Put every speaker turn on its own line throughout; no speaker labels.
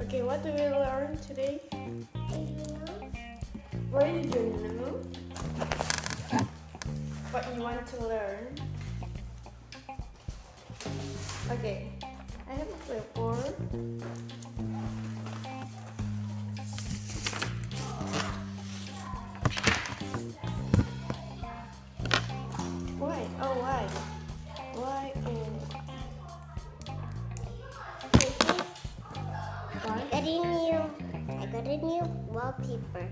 Okay, what do we learn today? What did you know? What you want to learn? Okay, I have a clipboard. Why? Oh, why? Why? Oh.
I got a new, I got a new wallpaper.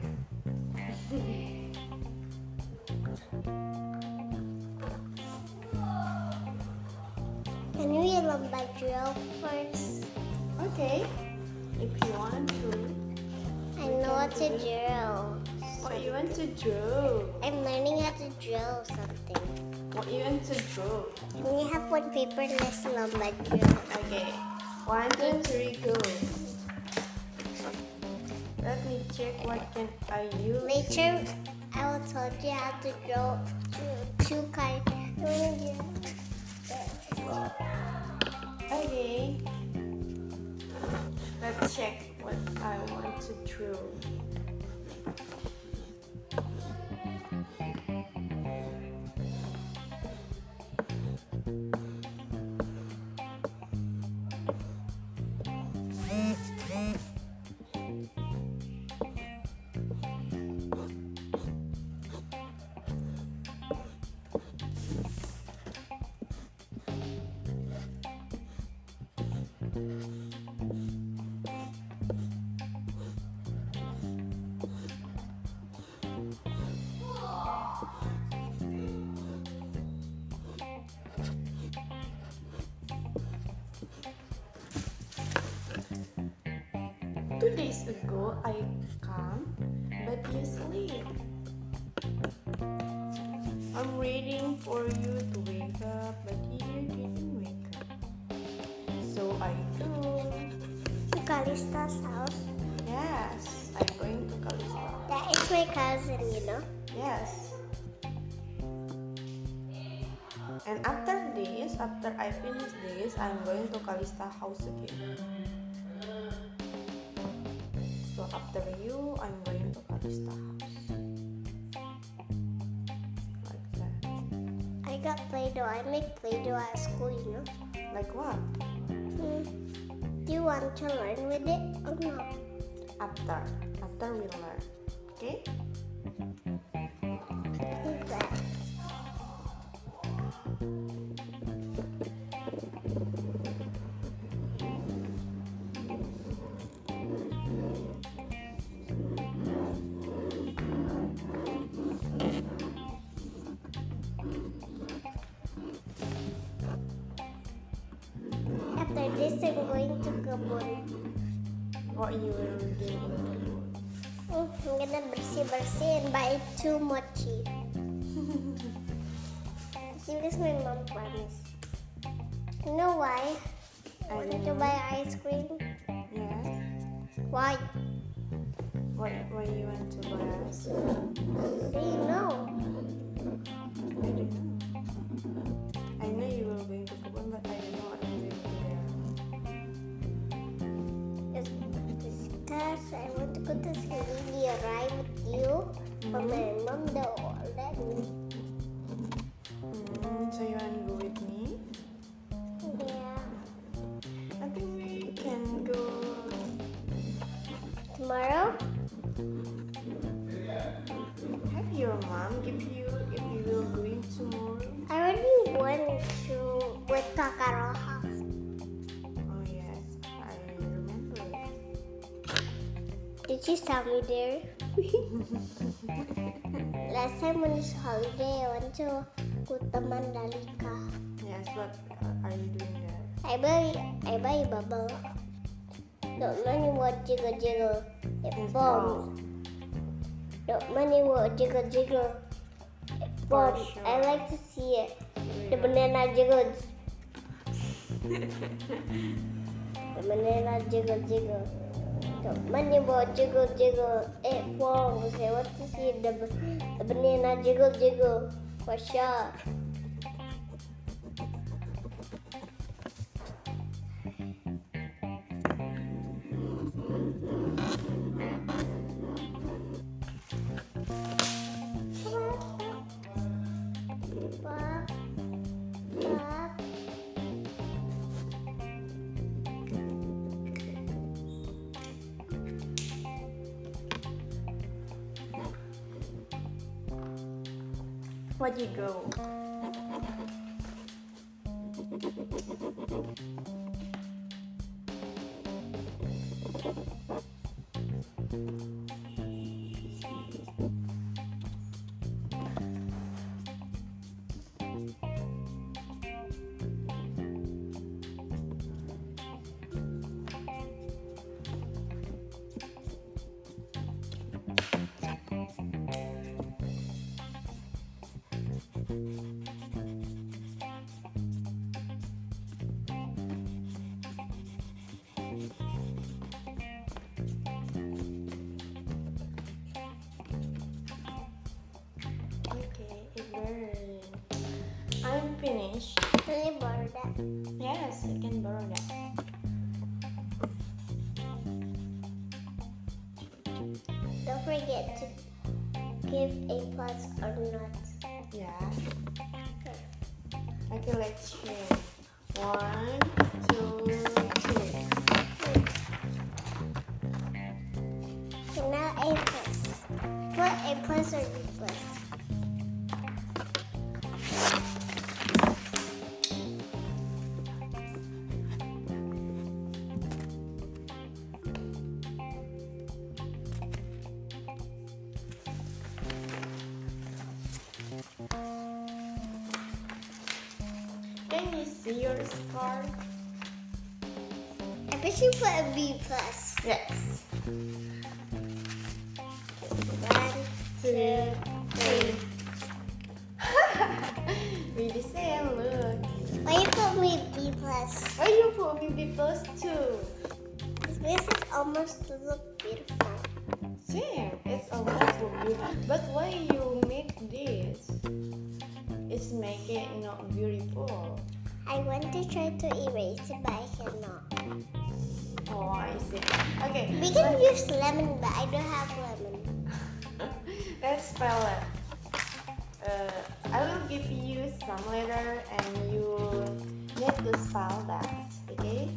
Can we learn by drill first?
Okay, if you want to.
I know what to drill.
What you want to draw?
I'm learning how to drill something.
What you want to draw?
Can you have one paper less lumber drill?
Okay, one, two, three, go. Let me check what can I use.
Later, I will tell you how to draw two, two kinds.
Okay. Let's check what I want to draw. Two days ago I come, but you sleep. I'm waiting for you to wake up, but you didn't wake up. So I do.
Calista's house.
Yes, I'm going to Kalista.
That is my cousin, you know.
Yes. And after this, after I finish this, I'm going to Kalista house again. So after you, I'm going to Kalista house. Like that.
I got Play-Doh. I make Play-Doh at school, you know.
Like what?
Hmm. Do you want to learn with it or not?
After. After we learn. Okay?
Okay. After this, I'm going to kebun.
What you will do in
Hmm, I'm gonna bersih-bersih and buy two mochi. because my mom promised. You know why? I
I
wanted
don't
to
know.
buy ice cream.
Yes.
Why?
What, what you want to buy us?
Do you know?
I don't know. I know you were going to Kebun, but I don't know what you will do there.
It's because I want to go to Scandinavia, right? With you, but my mom don't let me.
Mm, so you wanna go with me?
Yeah.
I think we can go.
Tomorrow?
Have your mom give you if you will going tomorrow.
I already went to with Kakaro house.
Oh yes, I remember.
Did she saw me there? Last time on this holiday, I went to Kuta Mandalika.
Yes, what uh, are you doing there?
I buy I buy bubble. Don't money what jiggle jiggle. It bombs. Don't money what jiggle jiggle. It bombs. I like to see it. The banana jiggles. the banana jiggle jiggle. Don't money what jiggle jiggle. It bombs. I want to see the, ba- the banana jiggle jiggle. For sure.
What you go? Okay, it's burning. I'm finished.
Can you borrow that?
Yes, I can borrow that.
Don't forget to give a plus or not.
Yeah.
Okay.
Okay, let's share. One, two, three.
So now A plus. What A plus or B plus?
Can you see your scar?
I bet you put a B plus.
Yes.
One, two, three.
we the same, look.
Why you put me B plus?
Why you put me be plus two?
This is almost look beautiful.
Same, it's a lot for you. But why you make this? It's make it not beautiful.
I want to try to erase it, but I cannot.
Oh, I see. Okay,
We can use lemon, but I don't have lemon.
let's spell it. Uh, I will give you some letter and you need to spell that. Okay?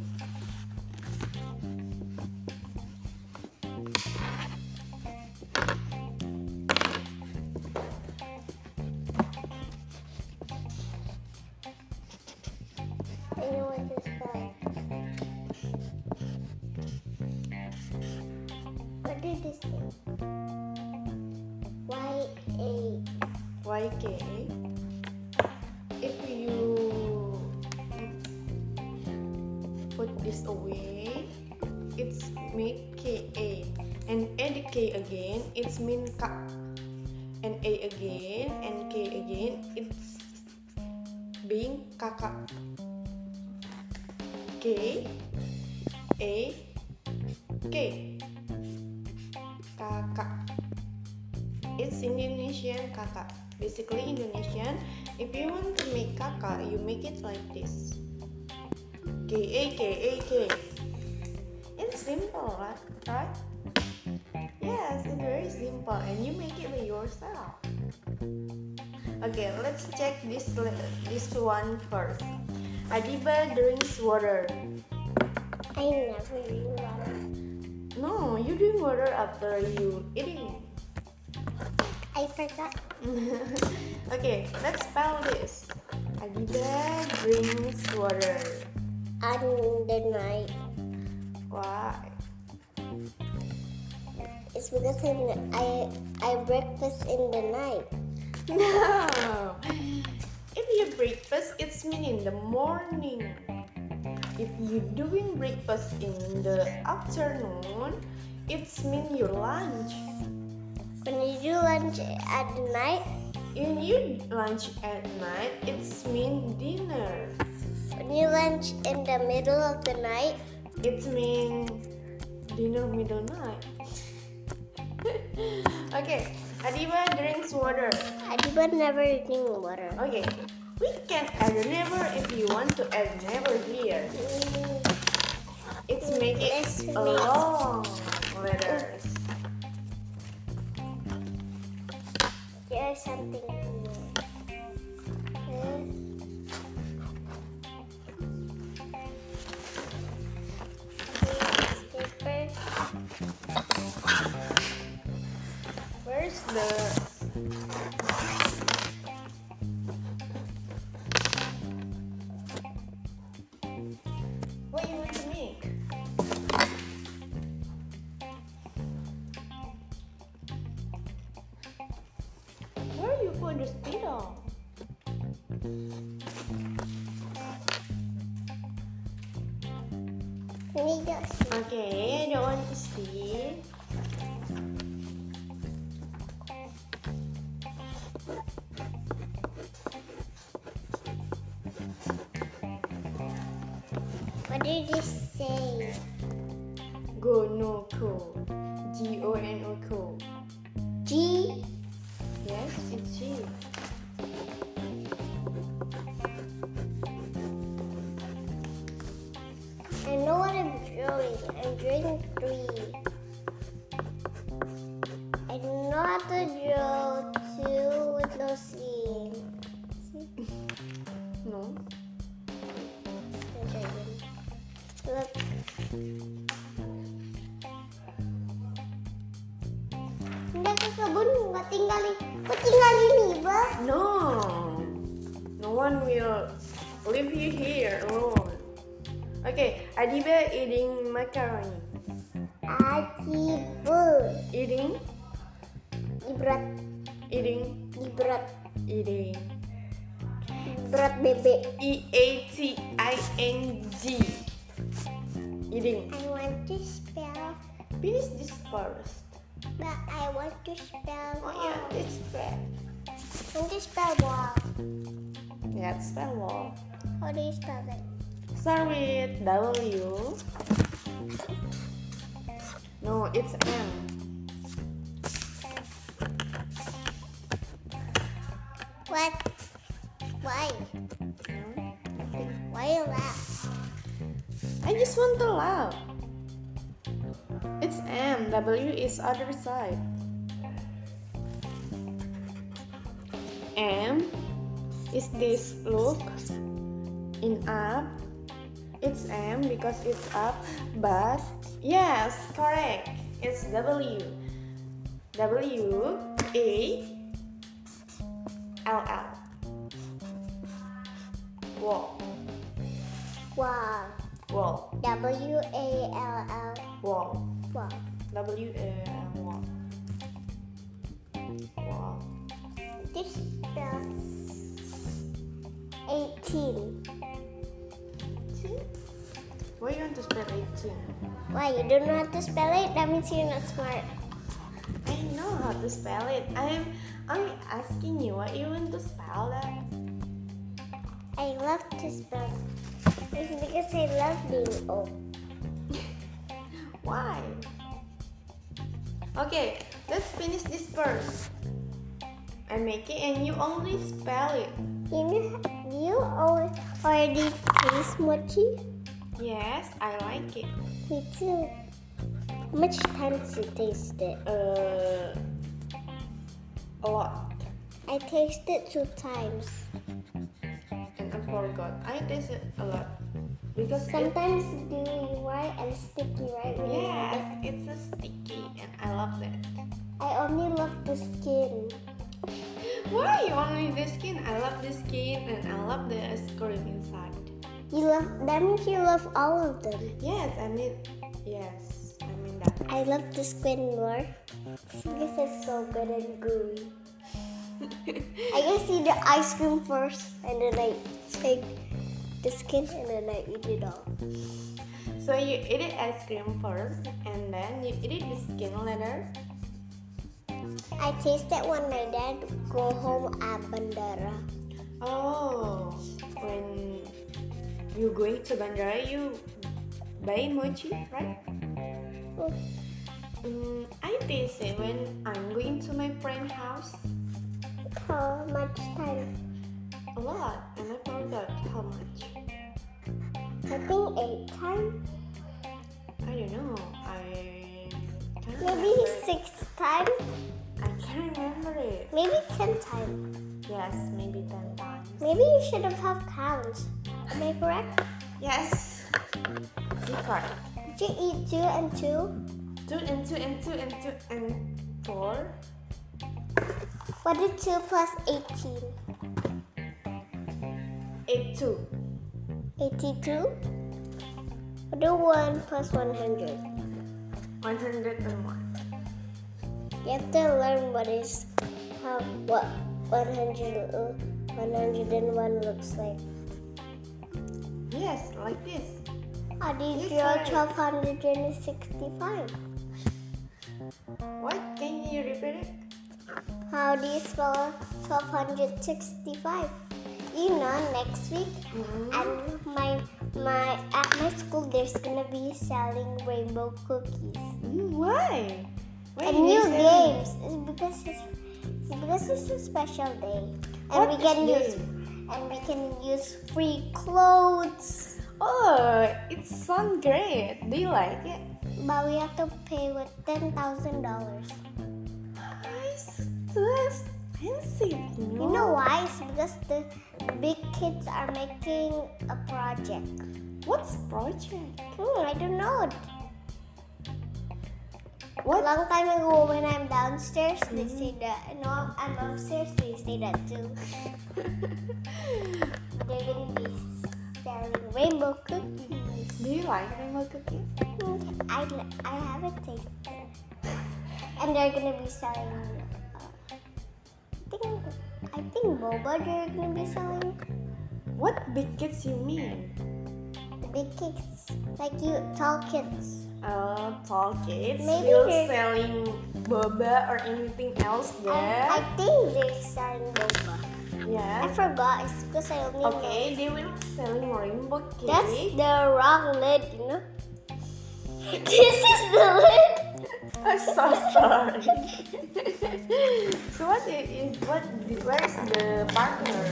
I know what to spell. What did this do? Y A.
YK. If you put this away, it's make KA. And add K again, it's mean cup. And A again, and K again, it's being kakak. K, A, K. Kakak. It's Indonesian kakak. Basically Indonesian. If you want to make kakak, you make it like this. K A K A K. It's simple, right? Right? Yes, it's very simple, and you make it by yourself. Okay, let's check this le- this one first. Adiba drinks water.
I never knew that.
No, you drink water after you eating.
I forgot.
okay, let's spell this. Adidas drinks water.
On the night.
Why?
It's because I I, I breakfast in the night.
No. If you breakfast, it's mean in the morning. If you doing breakfast in the afternoon, it's mean your lunch.
When you do lunch at the night,
If you lunch at night, it's mean dinner.
when you lunch in the middle of the night,
It's mean dinner middle night. okay, Adiba drinks water.
Adiba never drink water.
Okay, we can add never if you want to add never here. It's make it
Let's
a
make-
long letters.
There's something in there. This- this paper.
Where's the wrong.
Ini tak sih.
Okay, that one is D.
What did you say?
Gonoko. G O N O K.
G.
Yes, it's G.
I know what I'm drawing. I'm drawing three. I know how to draw two with no seam.
No.
Look. Hindi ka sabon, ba't tingali? Ba't tingali ni ba?
No. No one will leave you here alone. Okay, Adiba eating macaroni.
Atibo.
Eating,
Ibrat,
eating,
ibrat,
eating.
ibrat bebek.
E A T I N G. Eating.
I want to spell,
Finish this first.
but I want to spell.
Oh yeah, it's bad.
I want to spell wall.
Yeah, it's spell wall.
How do you spell it?
Start with W. No, it's M.
What? Why? Why you laugh?
I just want to laugh. It's M. W is other side. M is this look in up. It's M because it's up, but yes, correct. It's W. W A L L. Wall,
Wall.
wall,
W A L L.
wall.
Wall.
W uh, and wall. Wall.
This spells eighteen.
Why you want to spell 18?
Why you don't know how to spell it? That means you're not smart.
I know how to spell it. I'm I'm asking you what you want to spell that.
I love to spell. It's because I love being old.
Why? Okay, let's finish this first. I make it and you only spell it.
You know, you al- already taste mochi.
Yes, I like it.
Me too. How much time to taste it?
Uh, a lot.
I tasted two times.
And I forgot. I taste it a lot. Because it-
Sometimes gooey white and sticky right when you eat it.
Yes, it's a sticky and I love that.
I only love the skin.
Why you only the skin? I love the skin and I love the ice cream inside.
You love that means you love all of them.
Yes, I mean yes, I mean that.
I love the skin more. Because it's so good and gooey. I just eat the ice cream first and then I take the skin and then I eat it all.
so you eat it ice cream first and then you eat it the skin later.
I tasted when my dad go home at Bandara.
Oh when you going to Bandara you buy mochi, right?
Oh,
Mm, I taste it when I'm going to my friend's house.
How much time?
A lot, and I forgot how much.
I think eight times.
I don't know. I can't
Maybe
remember.
six times.
I can't remember it.
Maybe ten times.
Yes, maybe ten times.
Maybe you should have had counts. Am I correct?
Yes. You correct.
Did you eat two and two?
Two and two and two and two and four.
What is two plus eighteen?
Eight two.
Eighty-two. What do one plus one hundred?
One hundred and one.
You have to learn what is how what 100, uh, 101 looks like.
Yes, like this.
How do you
It's
draw
right.
1265?
What? Can you repeat it?
How do you spell 1265? You know, next week
Mhm.
at my my at my school there's gonna be selling rainbow cookies
Mm, Why? Why
and
did they
new
sell it?
games. It's because it's, it's because it's a special day, and
What
we
is
can
new?
use and we can use free clothes,
Oh, it sounds great. Do you like it?
but we have to pay with ten thousand dollars.
It's too expensive.
You know why? It's because the big kids are making a project.
What's project?
Hmm, I don't know it. A
What? Mm-hmm.
long time ago, when I'm downstairs, they say that. No, I'm upstairs, they say that too. They're gonna be selling rainbow cookies.
Do you like rainbow cookies?
I, I haven't tasted it. And they're gonna be selling. Uh, I think I think boba they're gonna be selling.
What big kids you mean?
The big kids, like you, tall kids.
Uh, tall kids.
Maybe
Still
they're-
selling boba or anything else
I, I
there?
think they're selling boba. I
Yes.
forgot. It's because I only know.
Okay, they will selling rainbow cake.
That's the wrong lid, you know. this is the lid.
I'm so sorry. so what i- is what where's the partner?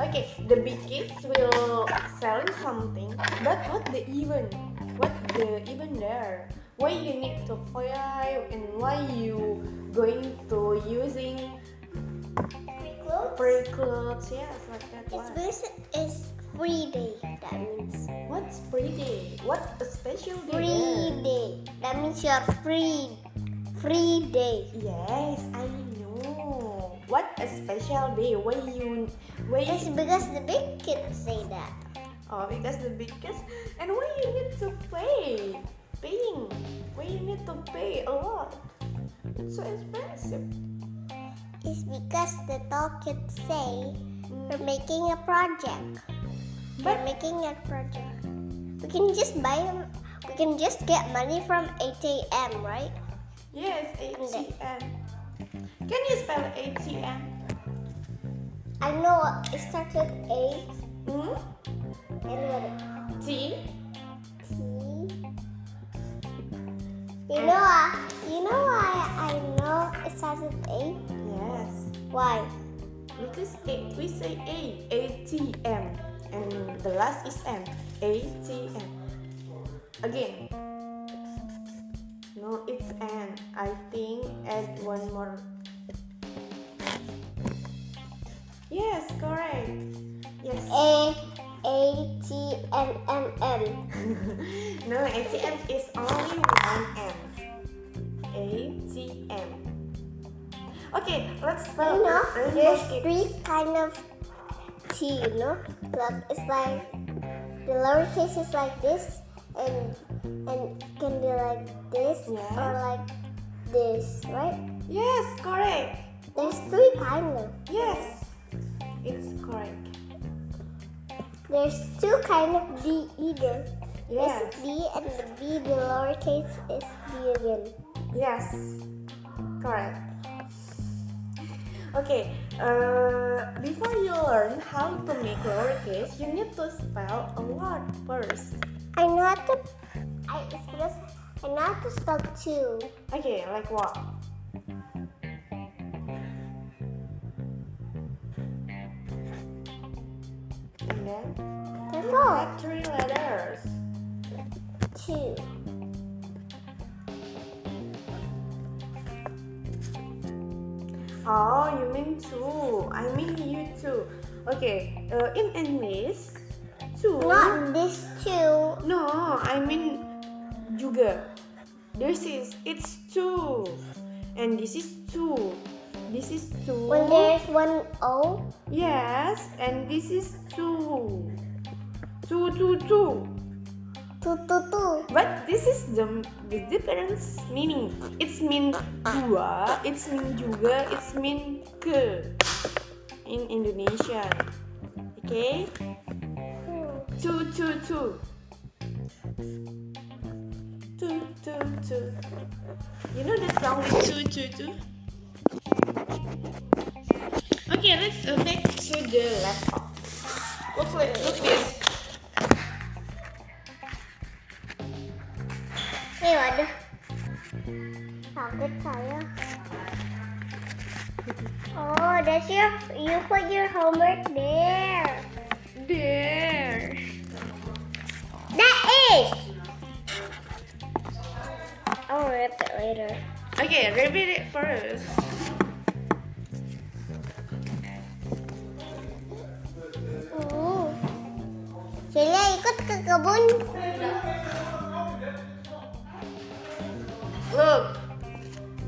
Okay, the big kids will selling something, but what the even? What the even there? Why you need to fly and why you going to using
Free clothes.
free clothes? Yes, like that
It's
one.
because it's free day. That means
What's free day? What a special day?
free
there?
day. That means you're free. Free day.
Yes, I know. What a special day. Why you why
It's because the big kids say that.
Oh, because the biggest and why you need to pay? Paying. Why you need to pay a lot? It's so expensive.
It's because the tall kids say
Mm,
we're making a project. we're
But
making a project. We can just buy. We can just get money from 8 a.m. Right?
yes, ATM. Can you spell ATM?
I know it starts with eight
Hmm?
and
T
with T. You know, I, you know why I know it starts with eight?
Yes.
Why?
Because A, we say A, ATM, and the last is M, ATM. Again. No, it's N. I think add one more. Yes, correct. Yes.
A A T M M M.
no, ATM is only one M. ATM. Okay, let's spell
You know,
rainbow
there's
cake.
three kind of T. You know, like it's like the lowercase is like this, and and can be like this
Yeah.
or like this, right?
Yes, correct.
There's three kind of.
Yes, it's correct.
There's two kind of D either.
Yes,
There's D and the B, the lowercase is D again.
yes, correct. Okay, uh, before you learn how to make lowercase, you need to spell a word first.
I know how to. I it's because I know how to spell two.
Okay, like what? And then
That's all.
add three letters.
Two.
Oh, you mean two? I mean you two. Okay, uh, in English, two.
Not this two.
No, I mean juga. This is it's two, and this is two. This is two.
When there's one O,
yes, and this is two. Two, two, two.
Two, two, two.
But this is the the difference meaning. It's mean dua, it's mean juga, it's mean ke in Indonesia. Okay,
Hmm.
two two two. Two two two. You know the song with two two two. Okay, let's uh, back to the laptop. Look, like- look this.
Eh, waduh. Kaget saya. Oh, that's your, you put your homework there.
There.
That is. I'll rip it later.
Okay, repeat it first.
Uh. Celia ikut ke kebun.
Look,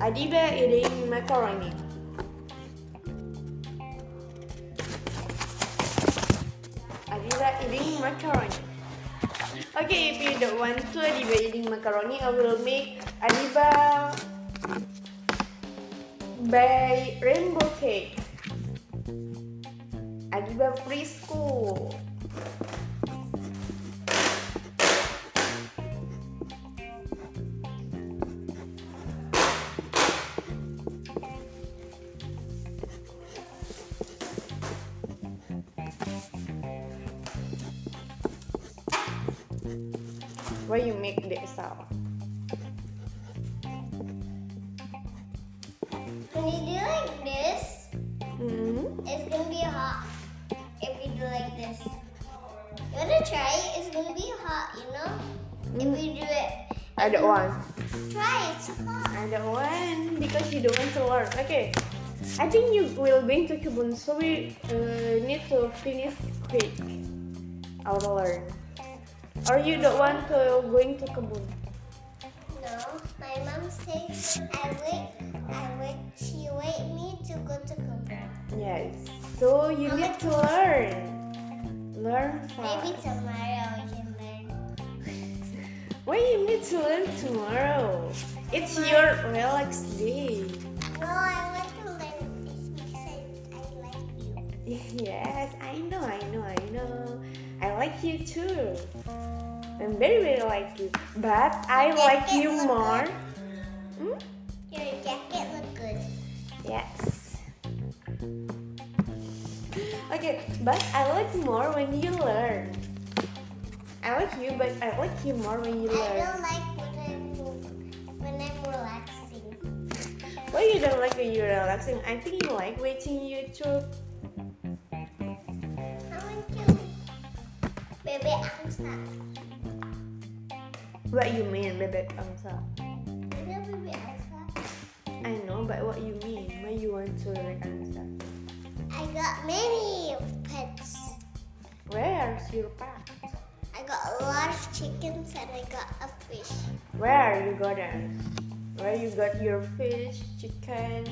Adiba eating macaroni. Adiba eating macaroni. Okay, if you don't want to Adiba eating macaroni, I will make Adiba by rainbow cake. Adiba preschool. Where you make the sound.
When you do like this,
hmm
it's gonna be hot. If you do like this, you wanna try it? It's gonna be hot, you know. If you do it,
I don't want.
try it. It's hot.
I don't want because you don't want to learn. Okay, I think you will bring to Kibun, so we uh, need to finish quick. I want to learn. Or you don't want to going to Kibun.
No, my mom says I wait. I wait. She wait me to go to Cooper.
Yes. So you need to learn. Learn
Maybe
fast.
tomorrow we can learn.
Why you need to learn tomorrow? It's your relax day.
No, I want to learn this because I like you.
Yes, I know, I know, I know. I like you too. I'm very, very like you. But I like you more. Hmm?
Your jacket look good.
Yes. Okay, but I like more when you learn. I like you, but I like you more when you
I
learn.
don't like when I'm when I'm relaxing.
Why you don't like when you're relaxing? I think you like watching YouTube.
I want to baby angsa.
What you mean, baby? I'm sorry.
You know baby angsa?
I know, but what you mean? Why you want to like answer?
I got many pets.
Where's your pet?
I got a lot of chickens and I got a fish.
Where you got them? Where you got your fish, chicken,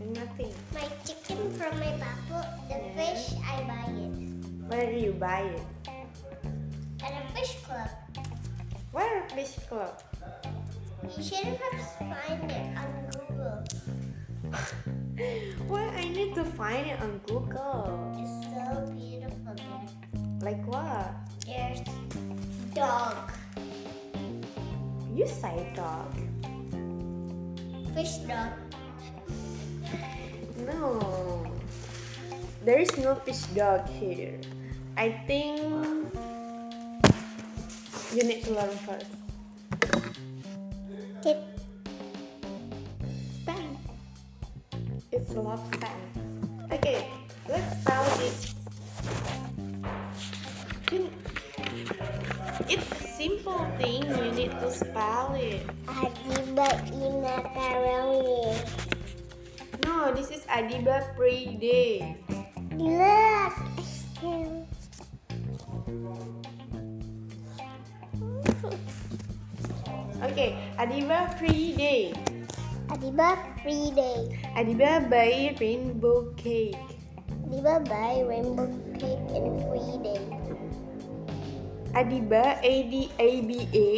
and nothing?
My chicken from my papa. The fish I buy it
Where do you buy it?
at a fish club.
Where fish club?
You should have find it on Google.
Why I need to find it on Google?
It's so beautiful there.
Like what?
There's dog,
You say dog?
fish dog.
No. There is no fish dog here. I think you need to learn first.
Tip.
Stand. It's a lot stand. Okay, let's start it. Can- It's a simple thing. You need to spell it.
Adiba in macaroni.
No, this is Adiba pre-day.
Look, it's still.
Okay, Adiba pre-day.
Adiba free day.
Adiba by rainbow cake.
Adiba buy rainbow cake and free day.
Adiba, A D A B A,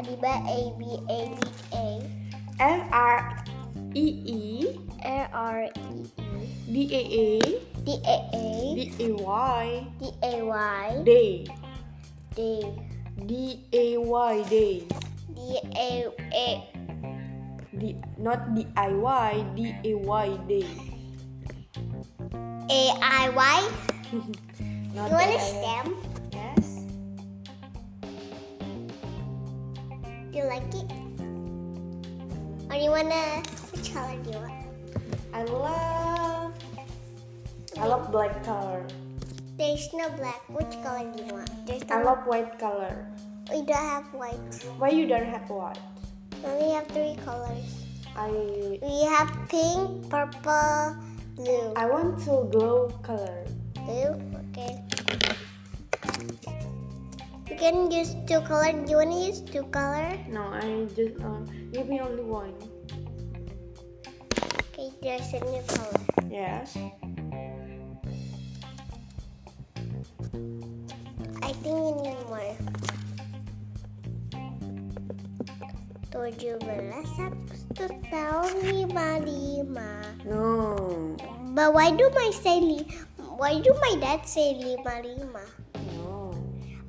Adiba A B A B A
F R E E,
R R E
D A A,
D A A
D A Y,
D A Y
Day,
D
D A Y Day,
D A A
D not D I Y, D A Y Day.
A I Y.
Not
You want a
DIY.
stem?
Yes.
You like it? Or you wanna? Which color do you want?
I love. I love black color.
There's no black. Which color do you want? There's
I
no.
love white color.
we don't have white.
Why you don't have white?
We only have three colors.
I
We have pink, purple, blue.
I want to glow color.
Blue. Okay. You can use two color. Do you wanna use two color?
No, I just uh, give me only one.
Okay. There's a new color.
Yes.
I think you need more. 17 Agustus tahun 55
No.
But why do my say li- Why do my dad say 55?
No.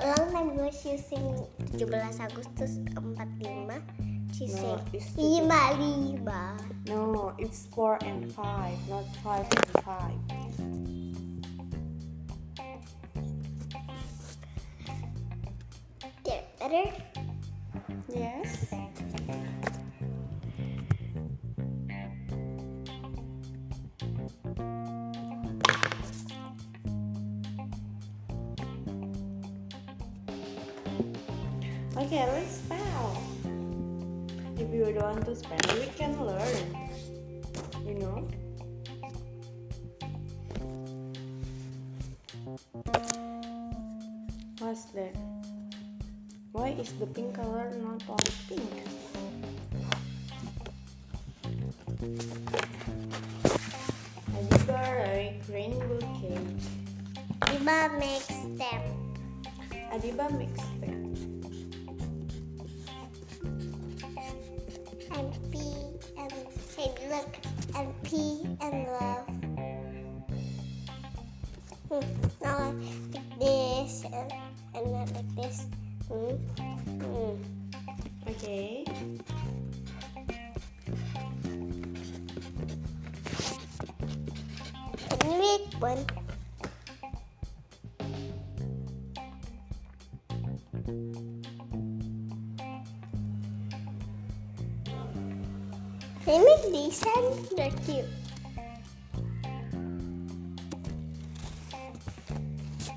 A long time ago she sing 17 Agustus 45 She
No,
sing
it's
55
No, it's four and five, not five and five.
There, better?
Yes. Okay, let's spell. If you don't want to spell, we can learn. You know? What's that? Why is the pink color not all pink? Have you got a rainbow cake?
Iba make stamp
Adiba mixed it.
and P and hey look and P and love. Hmm, now like this and and then like this. Hmm. Hmm.
Okay.
Can you make one? Can you make these ones? They're cute. Hmm.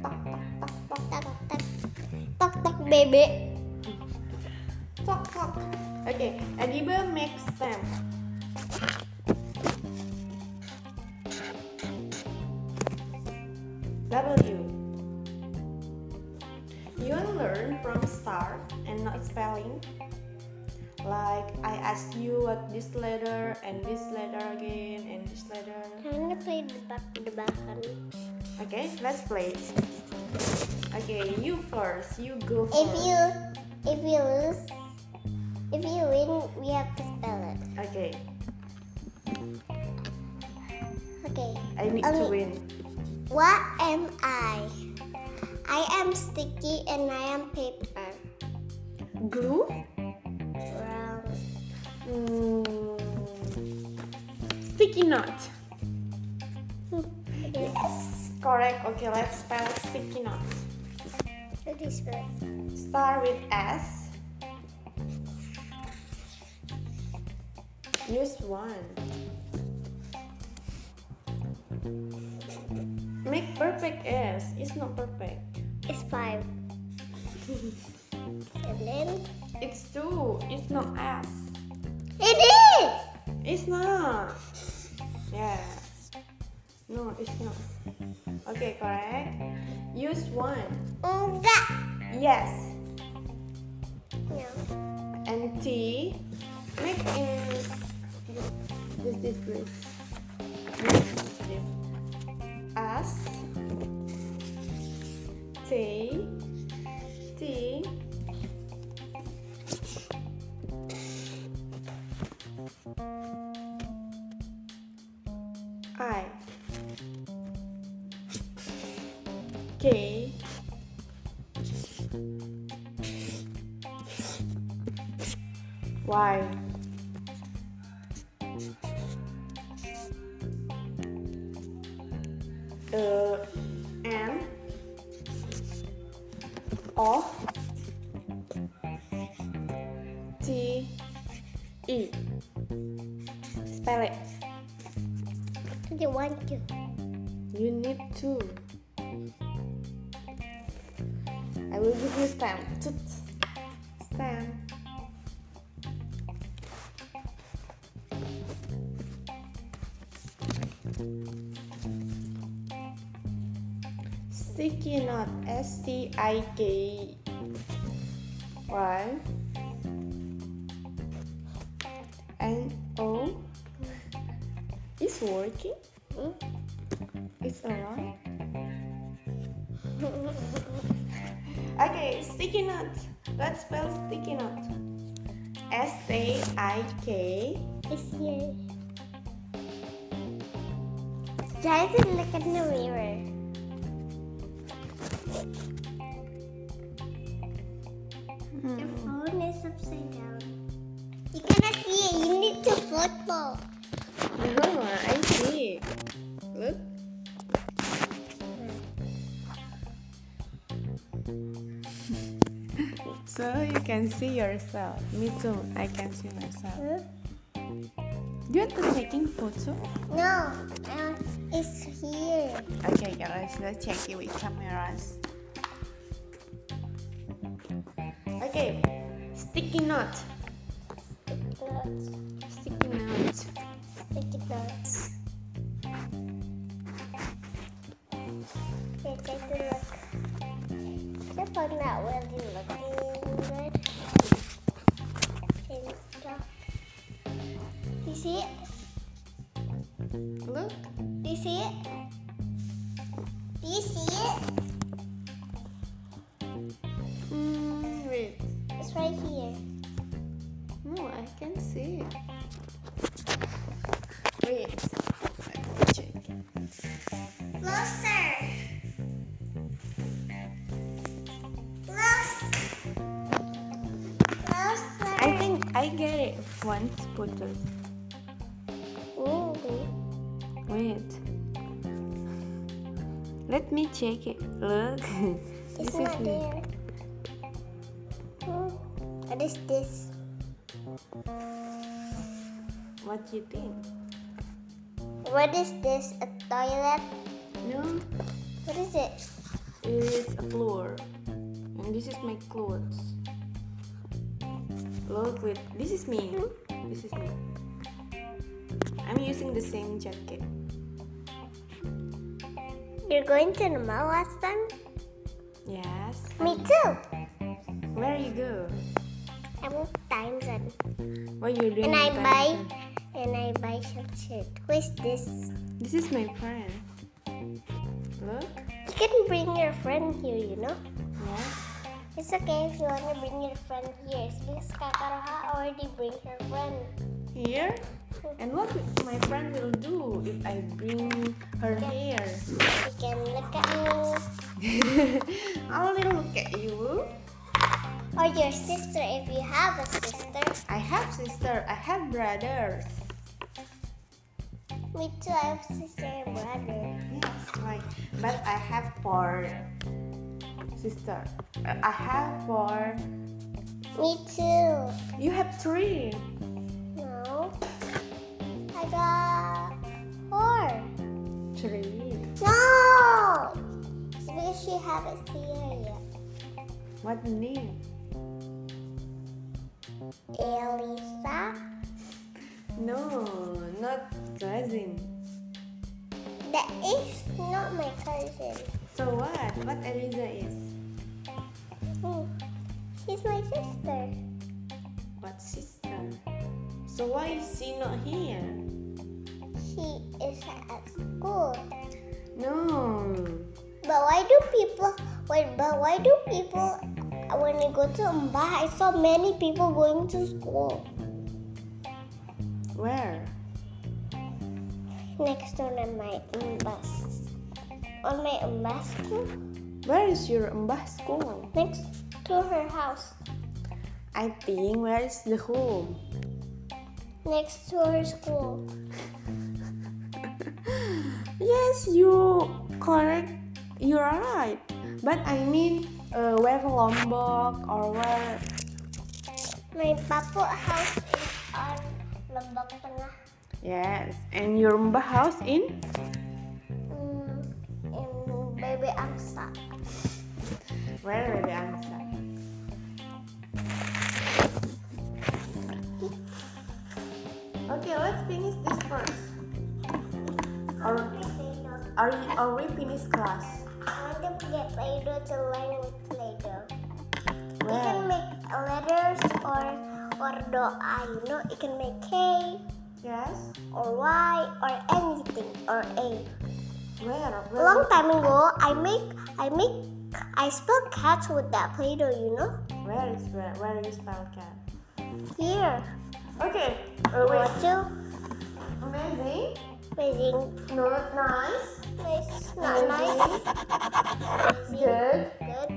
Tok tok tok tok tok baby.
Talk, talk. Okay, Adiba mixed them. W. You learn from start and not spelling. Like I ask you what this letter and this letter again and this letter.
Time to play the back the back.
Okay, let's play. Okay, you first. You go
If
first.
you if you lose, if you win, we have to spell it.
Okay,
Okay.
I need to
Okay.
win.
What am I? I am sticky and I am paper.
Glue.
Brown.
Mm, sticky knot. Yes, correct. Okay, let's spell sticky knot.
What is spell?
Start with S. Use one. Make perfect S. It's not perfect.
It's five. and then
It's two. It's not S.
it is.
It's not. Yeah. No, it's not. Okay, correct. Use one.
Enggak.
Yes.
No.
and tea. Make it this this place. Make this Bus. T. T. I. J. Y. uh, M O T E Spell it.
Do you want to?
You need to. I will give you stamp. Tut. Stamp. Sticky note. S T I K Y N O. It's working.
Hmm?
It's alright. okay, sticky note. Let's spell sticky note. S T I K.
It's here. Try to look in the mirror. Your phone is upside down. You cannot see it. You need to football.
Oh, I see. Look. So you can see yourself. Me too. I can see myself.
Huh?
You're taking photo.
No, uh, it's here.
Okay, guys, let's check it with cameras. Okay, sticky note.
Nuts.
Sticky note.
Sticky nuts. Here, take a look. Your phone not really looking good. And stuff. Do you see it?
Look.
Do you see it? Do you see it?
Mm, wait.
It's right here.
No, I can see. it. Wait. Let me check.
Closer. Close. Closer.
I think I get it. uh, One photo.
Ooh.
Wait. Let me check it. Look.
It's
this is
not
me.
there. Hmm. What is this?
What you think?
What is this? A toilet?
No,
What is it?
it's a floor, and this is my clothes. Look, wait. This is me. This is me. I'm using the same jacket.
You're going to the mall last time?
Yes.
Me too.
Where you go?
I'm with Time's on.
What you doing?
And I
with
buy
Amazon?
and I buy some shit. What is this?
This is my friend. Look.
You can bring your friend here, you know?
Yes.
It's okay if you want to bring your friend here. It's because Kakaroha already bring her friend.
Here. And what my friend will do if I bring her hair?
You can look at me.
I'll look at you.
Or your sister if you have a sister.
I have sister. I have brothers.
Me too, I have sister and brother.
Yes, right. But I have four sister. Uh, I have four.
Me too.
You have three.
No. I got four.
Three.
No! It's because she haven't seen her yet.
What name?
Elisa?
No, not cousin.
That is not my cousin.
So what? What Elisa is?
Hmm. She's my sister.
What sister? So why is she not here?
She is at school.
No.
But why do people? Wait, but why do people? When I go to Mumbai, I saw many people going to school
Where?
next to my um, bus. On my um, bus, too?
Where is your mbah school?
next to her house,
I think where is the home?
next to her school.
Yes, you correct. You are right. But I mean, uh, where Lombok or where?
My papa house is on Lombok Tengah.
Yes, and your mbah house in?
Mm, in baby Angsa.
Where the answer? Okay, let's finish this first. Are, are, are we finished class?
I want to get Play-Doh to learn with Play-Doh. You
Where?
can make letters or or doa, you know. You can make K
Yes.
or Y or anything or A.
Where?
A
Where?
long time ago, I make I make I spell cats with that Play-Doh, you know.
Where is where? Where you spell cat?
Here,
Okay. Uh, wait.
what you?
Amazing.
Amazing.
Not nice.
Nice, not nice. Amazing.
Good.
Good.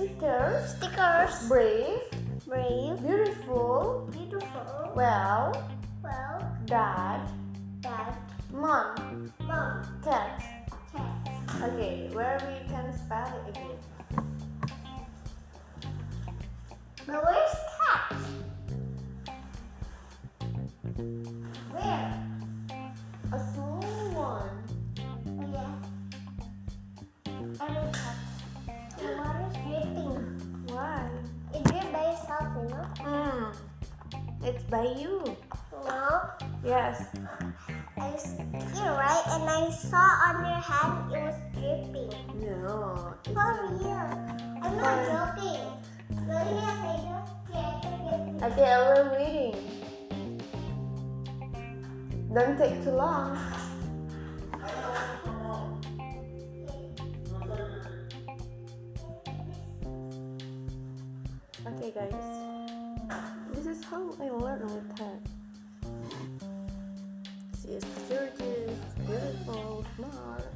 Stickers.
Stickers.
Brave.
Brave.
Beautiful.
Beautiful.
Well.
Well,
Dad.
dad.
Mom.
Mom.
Cat.
Cat.
Okay, where we can spell it again.
But where's cat? Where?
A small one.
Oh yeah. I don't cat. The water's dripping.
Why?
It dripped by itself, you know?
Mm. It's by you.
No.
Yes.
I was here, right? And I saw on your hand it was dripping.
No. It's,
For real. I'm not joking. Really, I don't care.
okay, we're reading. Don't take too long. Okay, guys. This is how I learn with her. She is gorgeous, beautiful, smart.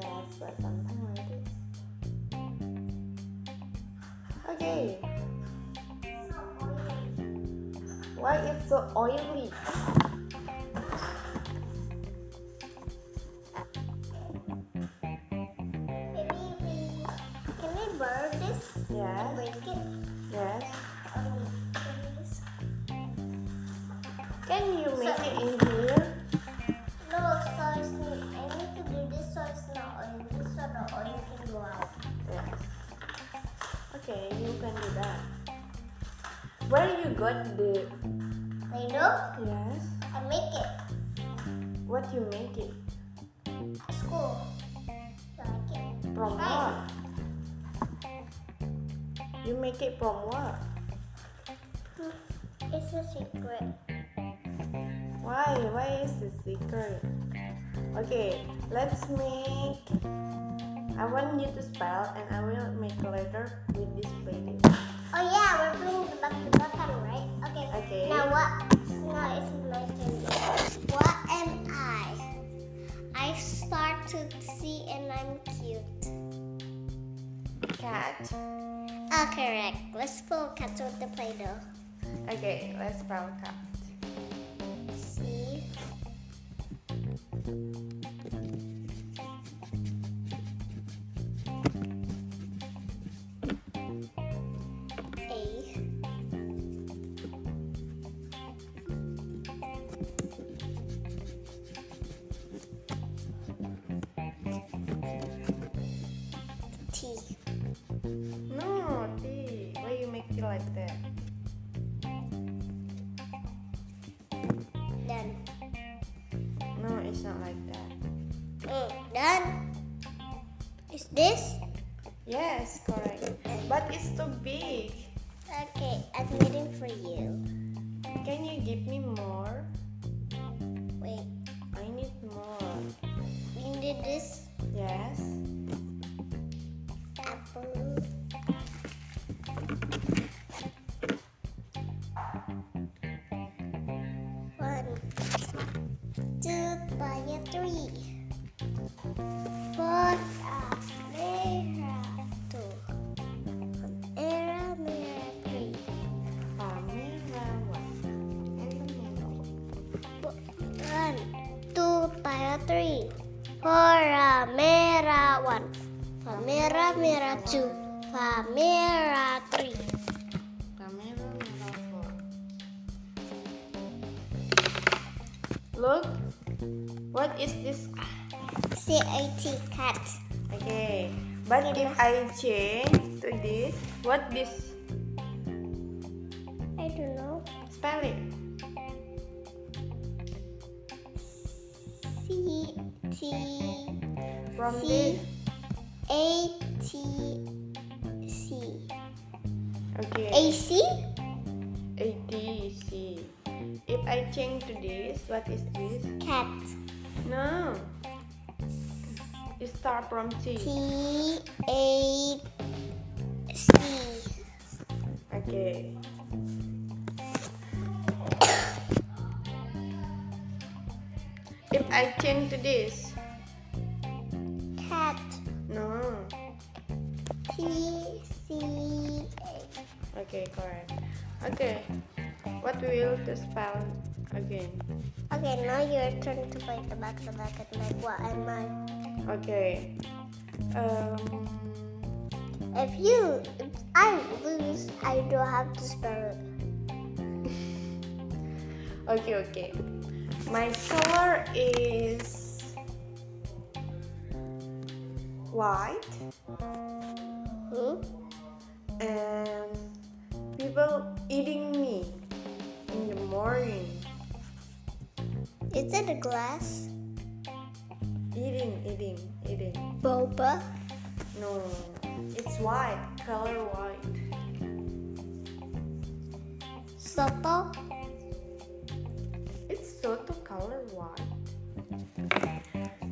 Yes, but something like this. Okay. Why it's so oily?
Maybe we can we borrow this?
Yes,
Break it.
yes.
Um, please.
Can you make it in here?
No, so it's I need to do this so it's not oily, so the oil can go out.
Yes. Okay, you can do that. Where you got the
I know.
yes?
I make it
What you make it
at school. So I can
from
try.
what? You make it from what?
Hmm, It's a secret.
Why? Why is the secret? Okay, let's make. I want you to spell, and I will make a letter with this plate.
Oh yeah, we're playing the back to back right? Okay.
Okay.
Now what? Now it's my turn. What am I? I start to see and I'm cute.
Cat.
Oh, correct. Let's pull cats with the play-doh.
Okay, let's spell cat.
C. A. T.
No, T. Why you make it like that?
Done.
No, it's not like that.
Mm, done. Is this?
Yes, correct. But it's too big.
Okay, I'm waiting for you.
Can you give me more?
Wait.
I need more.
like this?
Yes.
Apple. One, two, by three. Four, mirror, two. Era, mirror, three.
Kamera one. And the middle.
One, two, para three. Fora, mera, one. Famera, mera, two. Famera, three.
Kamera merah four. Look. What is this?
C-A-T, cat.
Okay. But if I change to this, what this?
I don't know.
Spell it.
C-T,
From this.
C-A-T, C.
Okay.
A-C?
A D C. If I change to this, what is this?
Cat.
No. It start from T.
T-A-C.
Okay. If I change to this,
Cat.
no.
T-C-A.
Okay, correct. Okay. What will to spell again?
Okay, now your turn to find the back the back and like what am I?
Okay. Um.
If you if I lose, I don't have to spell it.
Okay, okay. My color is white
Hmm?
and people eating me in the morning.
Is it a glass?
Eating, eating, eating.
Boba?
No, it's white, color white.
Sopo?
It's soto color white.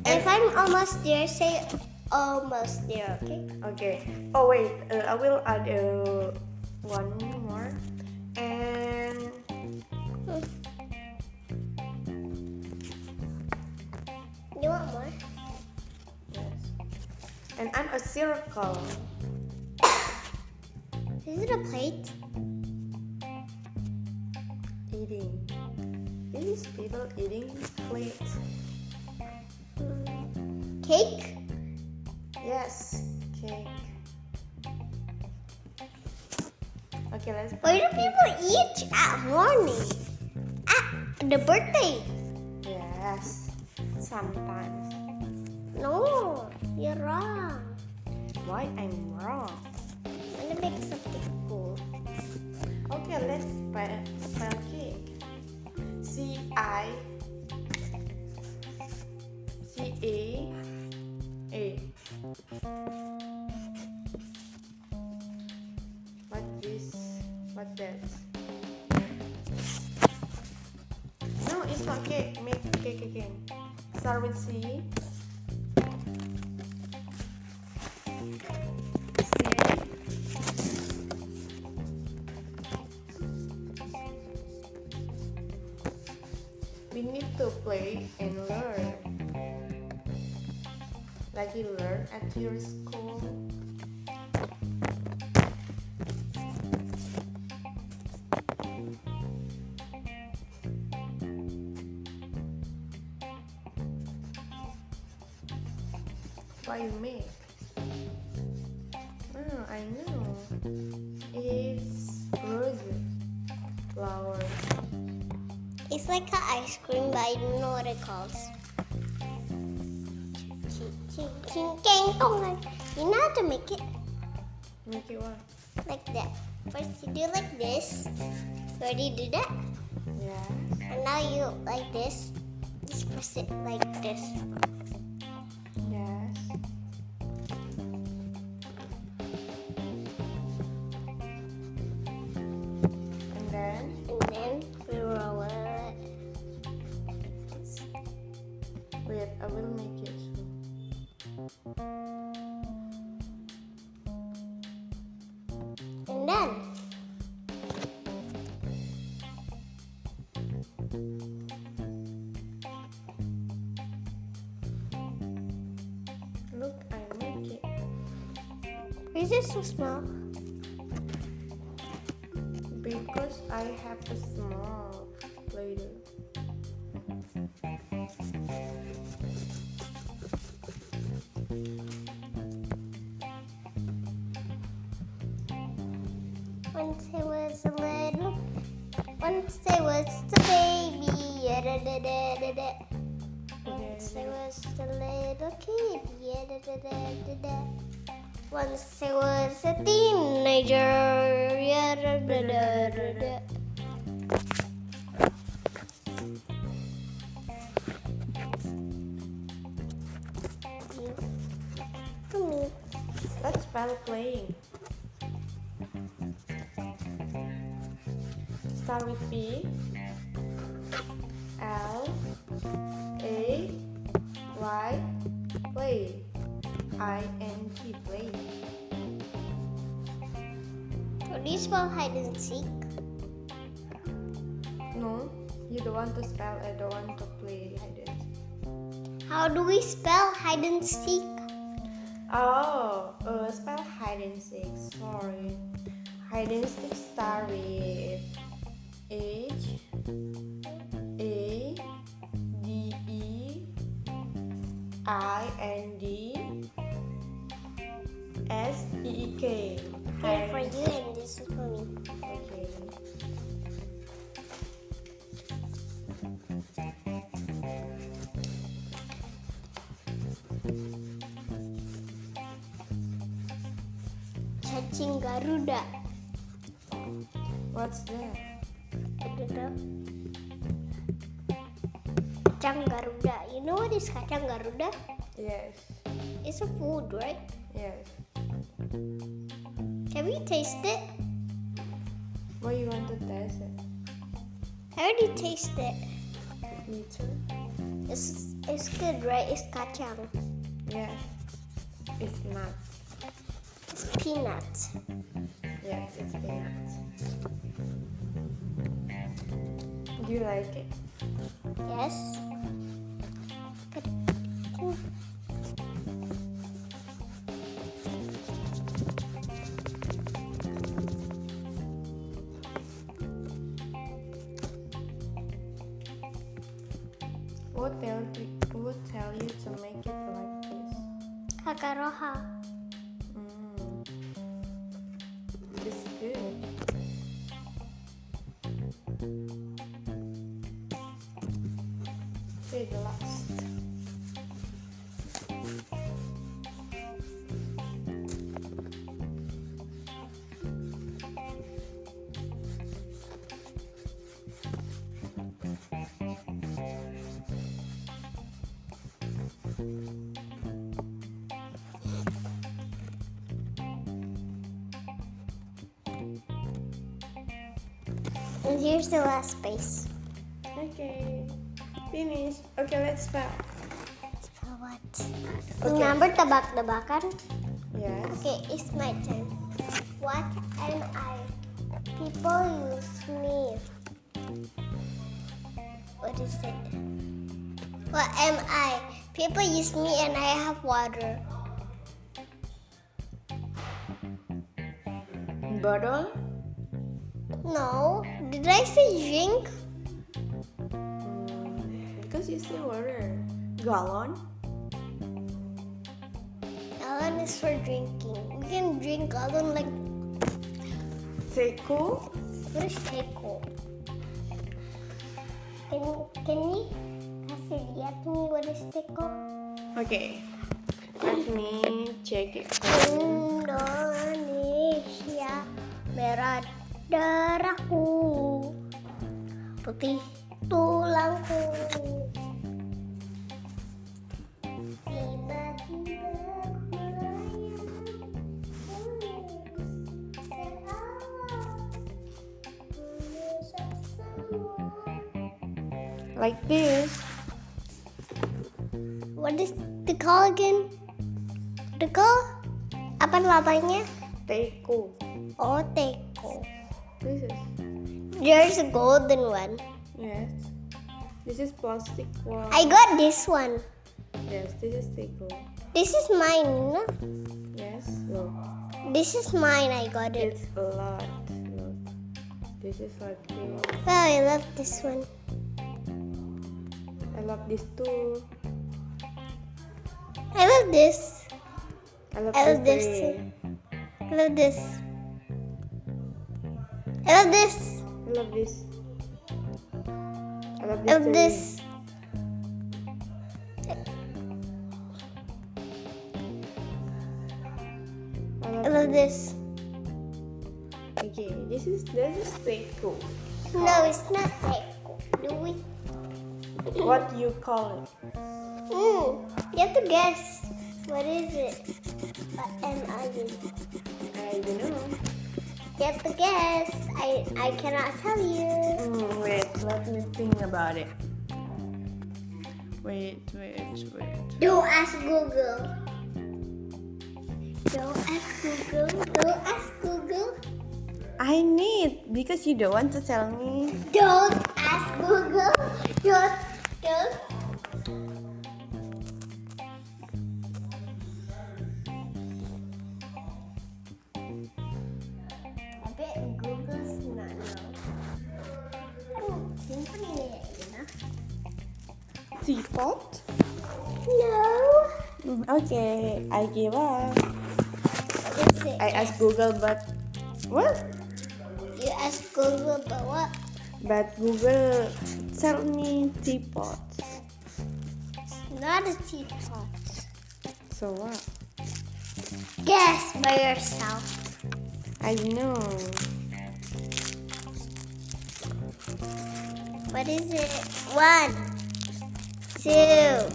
If I'm almost there, say almost there, okay?
Okay. Oh wait, uh, I will add uh, one more. And
Hmm. You want more?
yes. And I'm a circle.
Is it a plate?
eating. These people eating plate.
Hmm. Cake?
Yes, cake. Okay, let's.
Why do people eat at morning? At the birthday?
Yes, sometimes.
No, you're wrong.
Why I'm wrong?
I'm gonna make something cool.
Okay, let's spell, spell cake. C I C A A. What this? What that? No, it's not cake. Make cake again. Start with C. C. We need to play and learn. Like you learn at your school. What you make? Oh, I know. It's roses, flowers.
It's like an ice cream, but I don't know what it calls. Ching, ching, ching, ching, dong. You know how to make it
Make it what?
like that. First you do like this. You already did that.
Yes.
And now you like this. Just press it like this.
Yes. And then
And then we roll it.
wait, I will make it. soon.
Is it so small?
because I have a small later.
Once I was a little, once I was a baby. yadadadadada. Once I was a little kid. yadadadadada. Once I was a teenager. yadadadadada. You. Come here.
Let's spell playing. Start with B L A Y play. I N G play.
Do you spell hide and seek?
No, you don't want to spell. I don't want to play hide and seek.
How do we spell hide and seek?
Oh, uh, spell hide and seek. Sorry. Hide and seek start with H A D E I N D S E K.
Here for you and this is for me.
Okay.
Cacing Garuda.
What's that?
I don't know. Kacang Garuda. You know what is kacang Garuda?
Yes.
It's a food, right?
Yes.
Can we taste it?
What you want to test it?
I already tasted it.
Me too.
It's, it's good, right? It's kacang.
Yes. It's nuts.
It's peanuts.
Yes, it's peanuts. Do you like it?
Yes. Good.
What tell you, what tell you to make it like this?
Kakaroha.
Mm. It's good. Say the last.
And here's the last space.
Okay. Finish. Okay, let's spell.
For what? Remember tabak-tabakan?
Yes.
Okay, it's my turn. What am I? People use me. What is it? What am I? People use me and I have water.
Bottle.
No. Did I say drink?
Mm, because you say water. Gallon.
Gallon is for drinking. We can drink gallon like
Seiko.
what is Seiko? Can can you kasih lihat me what is Seiko?
Okay. Let me check it.
Indonesia merah darahku putih tulangku tiba-tiba ku layan terus seakan ku rusak semua
Like this.
What is the call again? The call? Apa namanya?
Seiko.
Oh, teko.
This is
There's a golden one.
yes. This is plastic one.
I got this one.
Yes, this is Seiko.
This is mine.
Yes. Look.
This is mine. I got it.
It's a lot. Look. This is like this.
Wow, Oh, I love this one.
I love this too.
I love this.
I love,
I love
this,
this
too.
I love this. I love this.
I love this. I love
I
this.
love this.
too. I
I
love
love this.
Okay, this is this is fake too.
No, it's not Seiko. Do we?
What you call it?
Mm, you have to guess. What is it? What am I?
I don't know.
You have to guess. I I cannot tell you.
Mm, wait, let me think about it. Wait, wait, wait.
Don't ask Google. Don't ask Google. Don't ask Google.
I need because you don't want to tell me.
Don't ask Google. Don't don't. I bet Google's not know. Oh, simple ini ya,
Teapot?
No.
Mm, Okay, I give up.
What is it?
I asked Google, but what?
You ask Google, but what?
But Google tell me teapot.
It's not a teapot.
So what?
Guess by yourself.
I know.
What is it? One, two,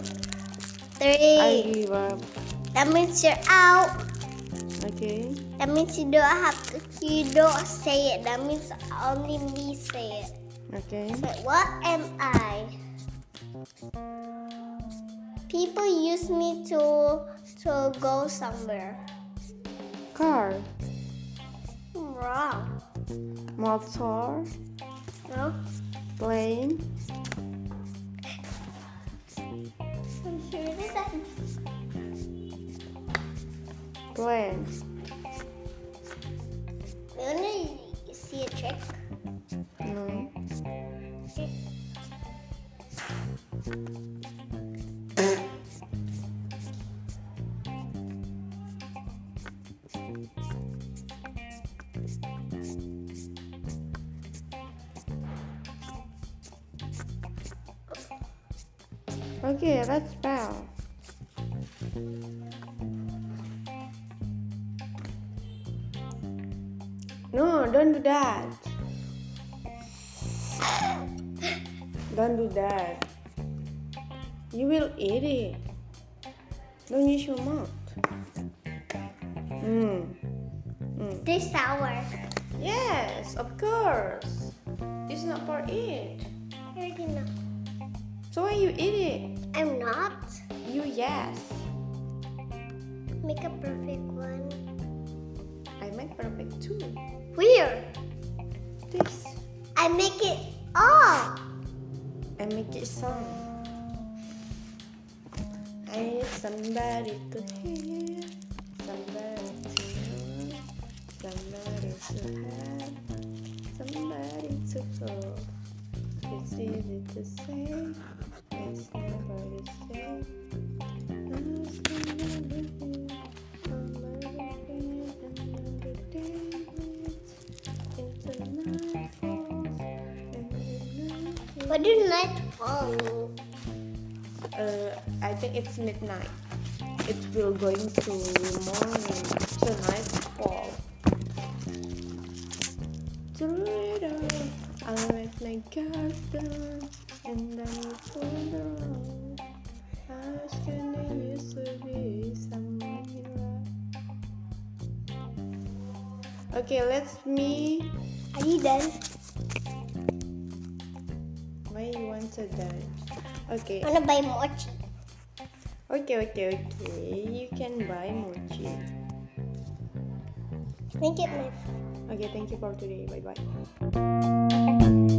three.
I give up.
That means you're out.
Okay.
That means you don't have to, you don't say it. That means only me say it.
Okay.
But what am I? People use me to to go somewhere.
Car.
I'm wrong.
Motor.
No?
Plane.
I'm sure it isn't.
Plane.
You wanna see a trick?
No. Okay, let's spell. No, don't do that. Don't do that. You will eat it. Don't use your mouth. Mm.
This hour.
Yes, of course. It's not for it.
I already know.
So when you eat it,
I'm not.
you yes.
Make a perfect one.
I make perfect too.
Weird.
This.
I make it all.
I make it sound. I need somebody to hear, somebody to know, somebody to have, somebody to go. It's easy to say, it's never the same. I'm somebody who- somebody who can understand it. It's a nightfall, and you know it.
What do Oh, night fall mean?
Uh, I think it's midnight. It will going to morning to nightfall. Toledo, I like my garden and I'm further on. I was gonna used to be someone you love. Okay, let's me.
Are you done?
Why you want to dance? Okay,
I wanna buy mochi.
okay, okay, okay. You can buy mochi.
Make it my
Okay, thank you for today. Bye bye.